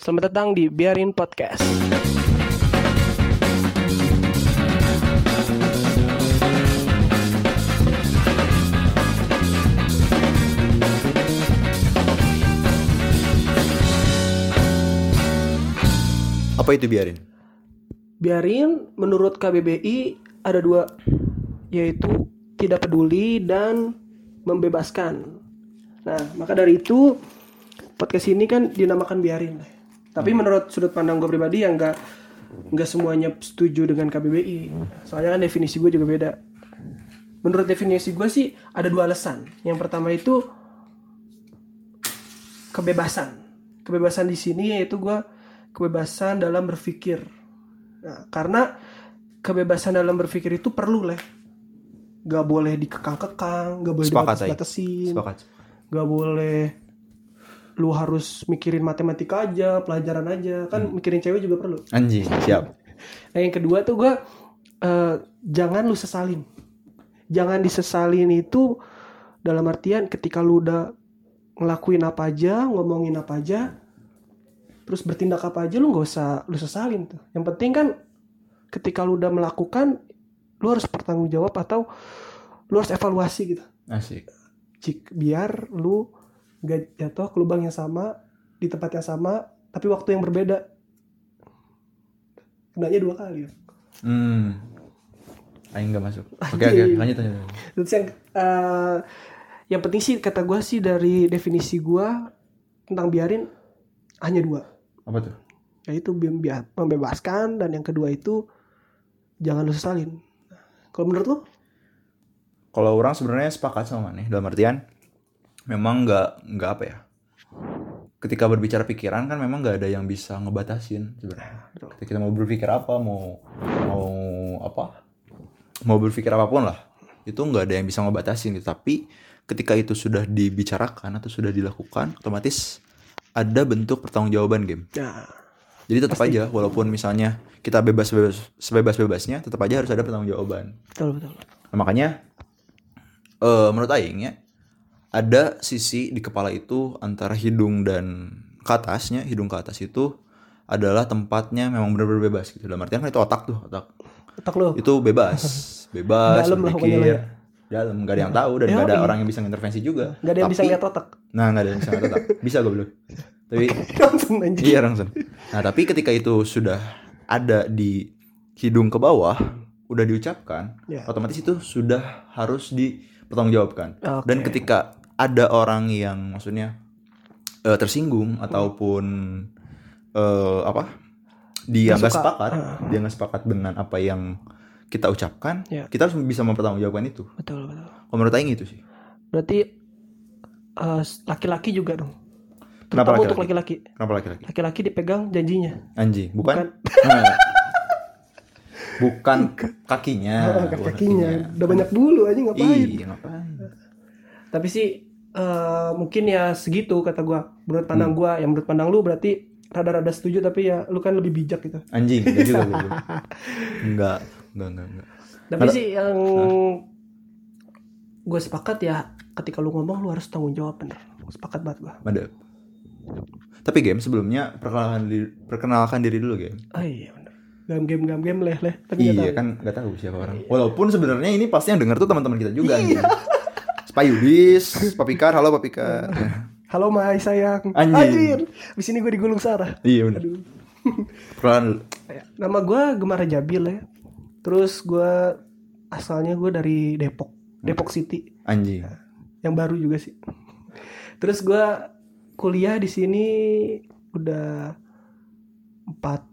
Selamat datang di Biarin Podcast. Apa itu biarin? Biarin menurut KBBI ada dua yaitu tidak peduli dan membebaskan. Nah, maka dari itu podcast ini kan dinamakan biarin. Tapi menurut sudut pandang gue pribadi yang enggak nggak semuanya setuju dengan KBBI. Soalnya kan definisi gue juga beda. Menurut definisi gue sih ada dua alasan. Yang pertama itu kebebasan. Kebebasan di sini yaitu gue kebebasan dalam berpikir. Nah, karena kebebasan dalam berpikir itu perlu lah. Gak boleh dikekang-kekang, gak boleh Sepakat, Tay. dibatasi-batasin, Sepakat. gak boleh lu harus mikirin matematika aja, pelajaran aja. Kan Hmm. mikirin cewek juga perlu. Anjing, siap. Nah yang kedua tuh gue eh, jangan lu sesalin, jangan disesalin itu dalam artian ketika lu udah ngelakuin apa aja, ngomongin apa aja, terus bertindak apa aja lu nggak usah lu sesalin tuh. Yang penting kan ketika lu udah melakukan, lu harus bertanggung jawab atau lu harus evaluasi gitu. Asik. Jik, biar lu gak jatuh ke lubang yang sama di tempat yang sama tapi waktu yang berbeda. Kenanya dua kali. Ya. Hmm. Aing enggak masuk. Oke, oke, Anjing. lanjut lanjut. lanjut. Terus yang eh, yang penting sih kata gue sih dari definisi gue tentang biarin hanya dua, Apa tuh? yaitu bi- bi- membebaskan dan yang kedua itu jangan lu sesalin. Kalau menurut lu? Kalau orang sebenarnya sepakat sama Maneh dalam artian memang nggak nggak apa ya? Ketika berbicara pikiran kan memang nggak ada yang bisa ngebatasin sebenarnya. Ketika kita mau berpikir apa, mau mau apa? Mau berpikir apapun lah. Itu nggak ada yang bisa ngebatasin gitu. Tapi ketika itu sudah dibicarakan atau sudah dilakukan, otomatis ada bentuk pertanggungjawaban game. Nah, Jadi tetap aja walaupun misalnya kita bebas bebas sebebas bebasnya tetap aja harus ada pertanggungjawaban. betul betul. Nah, makanya eh menurut aing ya ada sisi di kepala itu antara hidung dan ke atasnya, hidung ke atas itu adalah tempatnya memang benar-benar bebas gitu. Dalam artian kan itu otak tuh, otak. Otak lu. Itu bebas, Oh. bebas Dalam lah pokoknya lo ya. berpikir. Dalam gak ada yang tahu dan gak ada Yoi. orang yang bisa intervensi juga. Gak ada yang bisa Tapi- lihat otak. Nah, gak ada yang bisa ngeliat otak. Bisa gue belum. Tapi Langsung anjing. Iya langsung. Nah tapi ketika itu sudah ada di hidung ke bawah, udah diucapkan, Ya. otomatis itu sudah harus dipertanggungjawabkan. Oke. Dan ketika ada orang yang maksudnya eh, tersinggung ataupun eh, apa, dia Nggak nggak suka. sepakat, Ah. dia nggak sepakat dengan apa yang kita ucapkan, Ya. kita harus bisa mempertanggungjawabkan itu. Betul betul. Kalau menurut Aing itu sih. Berarti eh, laki-laki juga dong. Kenapa Terutama untuk laki-laki? laki-laki. Kenapa laki-laki? Laki-laki dipegang janjinya. Anjing, bukan? Nah. Bukan kakinya. Angkat bukan Oh, ya. kakinya. Udah banyak bulu aja ngapain? Iya, ngapain? tapi sih eh, mungkin ya segitu kata gua menurut pandang gua yang menurut pandang lu berarti rada-rada setuju tapi ya lu kan lebih bijak gitu Anjing, enggak juga gue. Enggak, enggak, enggak, enggak. tapi Ada- sih yang gue sepakat ya ketika lu ngomong lu harus tanggung jawab bener sepakat banget gua Mantap. Tapi game sebelumnya perkenalkan diri, perkenalkan diri dulu game. ah, iya bener gam game gam game leh leh tapi nggak Iya tahu. kan nggak tahu siapa orang. Walaupun sebenarnya ini pasti yang denger tuh teman-teman kita juga Iya. anjing. Spayudis, Papikar, halo Papikar. halo mai sayang Anjing. di sini gue digulung sarah iya benar. Aduh. Perkenalan dulu. nama gua Gemar Jabil ya terus gua asalnya gue dari Depok Depok City anjing. yang baru juga sih. Terus gua kuliah di sini udah empat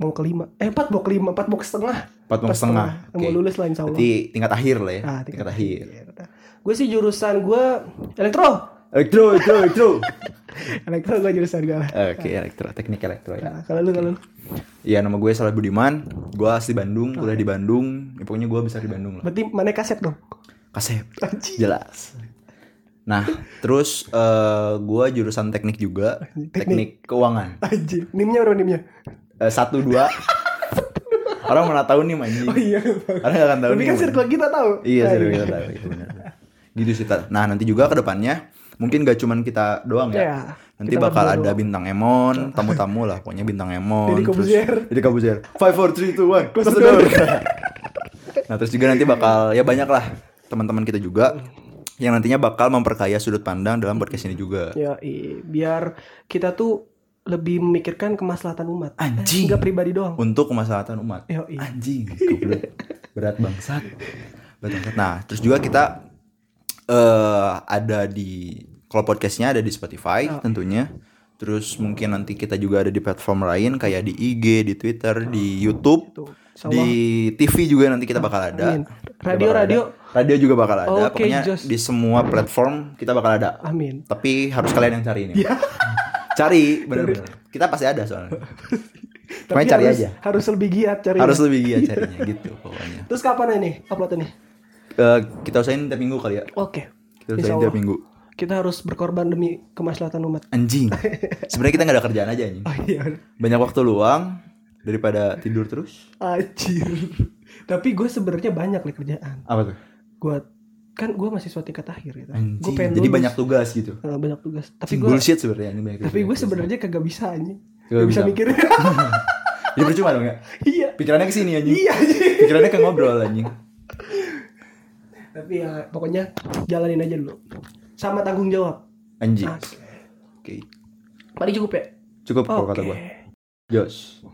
mau kelima, eh empat mau kelima, empat mau ke setengah, Empat mau Empat setengah. setengah. mau lulus lah insya Allah. Berarti tingkat akhir lah ya. Ah, tingkat, akhir. Gue sih jurusan gua elektro, Elektro, elektro, elektro. elektro gue jurusan gue lah. Oke, elektro, teknik elektro ya. Nah, kalau lu kalau lu, Iya, nama gue Salah Budiman. Gue asli Bandung, kuliah di Bandung. Ya, pokoknya gue besar di Bandung lah. berarti mana kaset dong? Kasep. Anjing. Jelas. Nah, terus eh gue jurusan teknik juga, Teknik. teknik, keuangan. Anjing, nimnya berapa nimnya? Eh, satu dua. Orang mana tahu nih anjing. Oh iya, Orang gak akan tahu tapi nih. kan Manji. circle kita tahu. Iya, Nah, seru kita tahu. Gitu Iya, benar. Gitu sih. Tar. Nah, nanti juga ke depannya mungkin gak cuman kita doang ya. Iya. Nanti Kita bakal nggak ada bintang Emon, tamu-tamu lah, pokoknya bintang Emon. Deddy terus- Corbuzier. Deddy Corbuzier. Five, four, three, two, one. Close the door. nah terus juga nanti bakal ya banyak lah teman-teman kita juga yang nantinya bakal memperkaya sudut pandang dalam podcast ini juga. Ya, i- biar kita tuh lebih memikirkan kemaslahatan umat. Anjing. Enggak pribadi doang. Untuk kemaslahatan umat. Yo, iya. i. Anjing, goblok. berat bangsat. Berat bangsat. Nah, terus juga kita eh ada di kalau podcastnya ada di Spotify Oh. tentunya. Terus mungkin nanti kita juga ada di platform lain kayak di IG, di Twitter, di YouTube, Tuh, di TV juga nanti kita bakal ada. Gitu. Amin. Radio, Kita bakal ada. radio. radio juga bakal ada. Oke, Pokoknya Jos. di semua platform kita bakal ada. Amin. Iya. Tapi harus kalian yang cari ini. cari, bener-bener. Kita pasti ada soalnya. Pokoknya cari harus, aja. Harus lebih giat cari. Harus lebih giat carinya gitu pokoknya. Terus kapan ini upload ini? Eh, kita usahain tiap minggu kali ya. Oke. Kita Insya usahain Allah. tiap minggu. Kita harus berkorban demi kemaslahatan umat. Anjing. Sebenarnya kita nggak ada kerjaan aja anjing. Oh iya. Banyak waktu luang daripada tidur terus. Anjir. Tapi gue sebenarnya banyak nih kerjaan. Apa tuh? Gue kan gue mahasiswa tingkat akhir gitu. Gue Anjing. pengen Jadi lulus. banyak tugas gitu. Eh, banyak tugas. Tapi Anjing, gue bullshit sebenarnya ini banyak tapi tugas. gue sebenarnya kagak bisa anjing. Kagak Gak bisa bisa. mikirin. Jadi percuma dong ya. iya. Pikirannya ke sini anjing. Iya anjing. Pikirannya ke ngobrol anjing. Tapi ya pokoknya jalanin aja dulu. Sama tanggung jawab. Anjing. Asli. Oke. Paling cukup ya. Cukup kalau Oke. kata gue. Jos.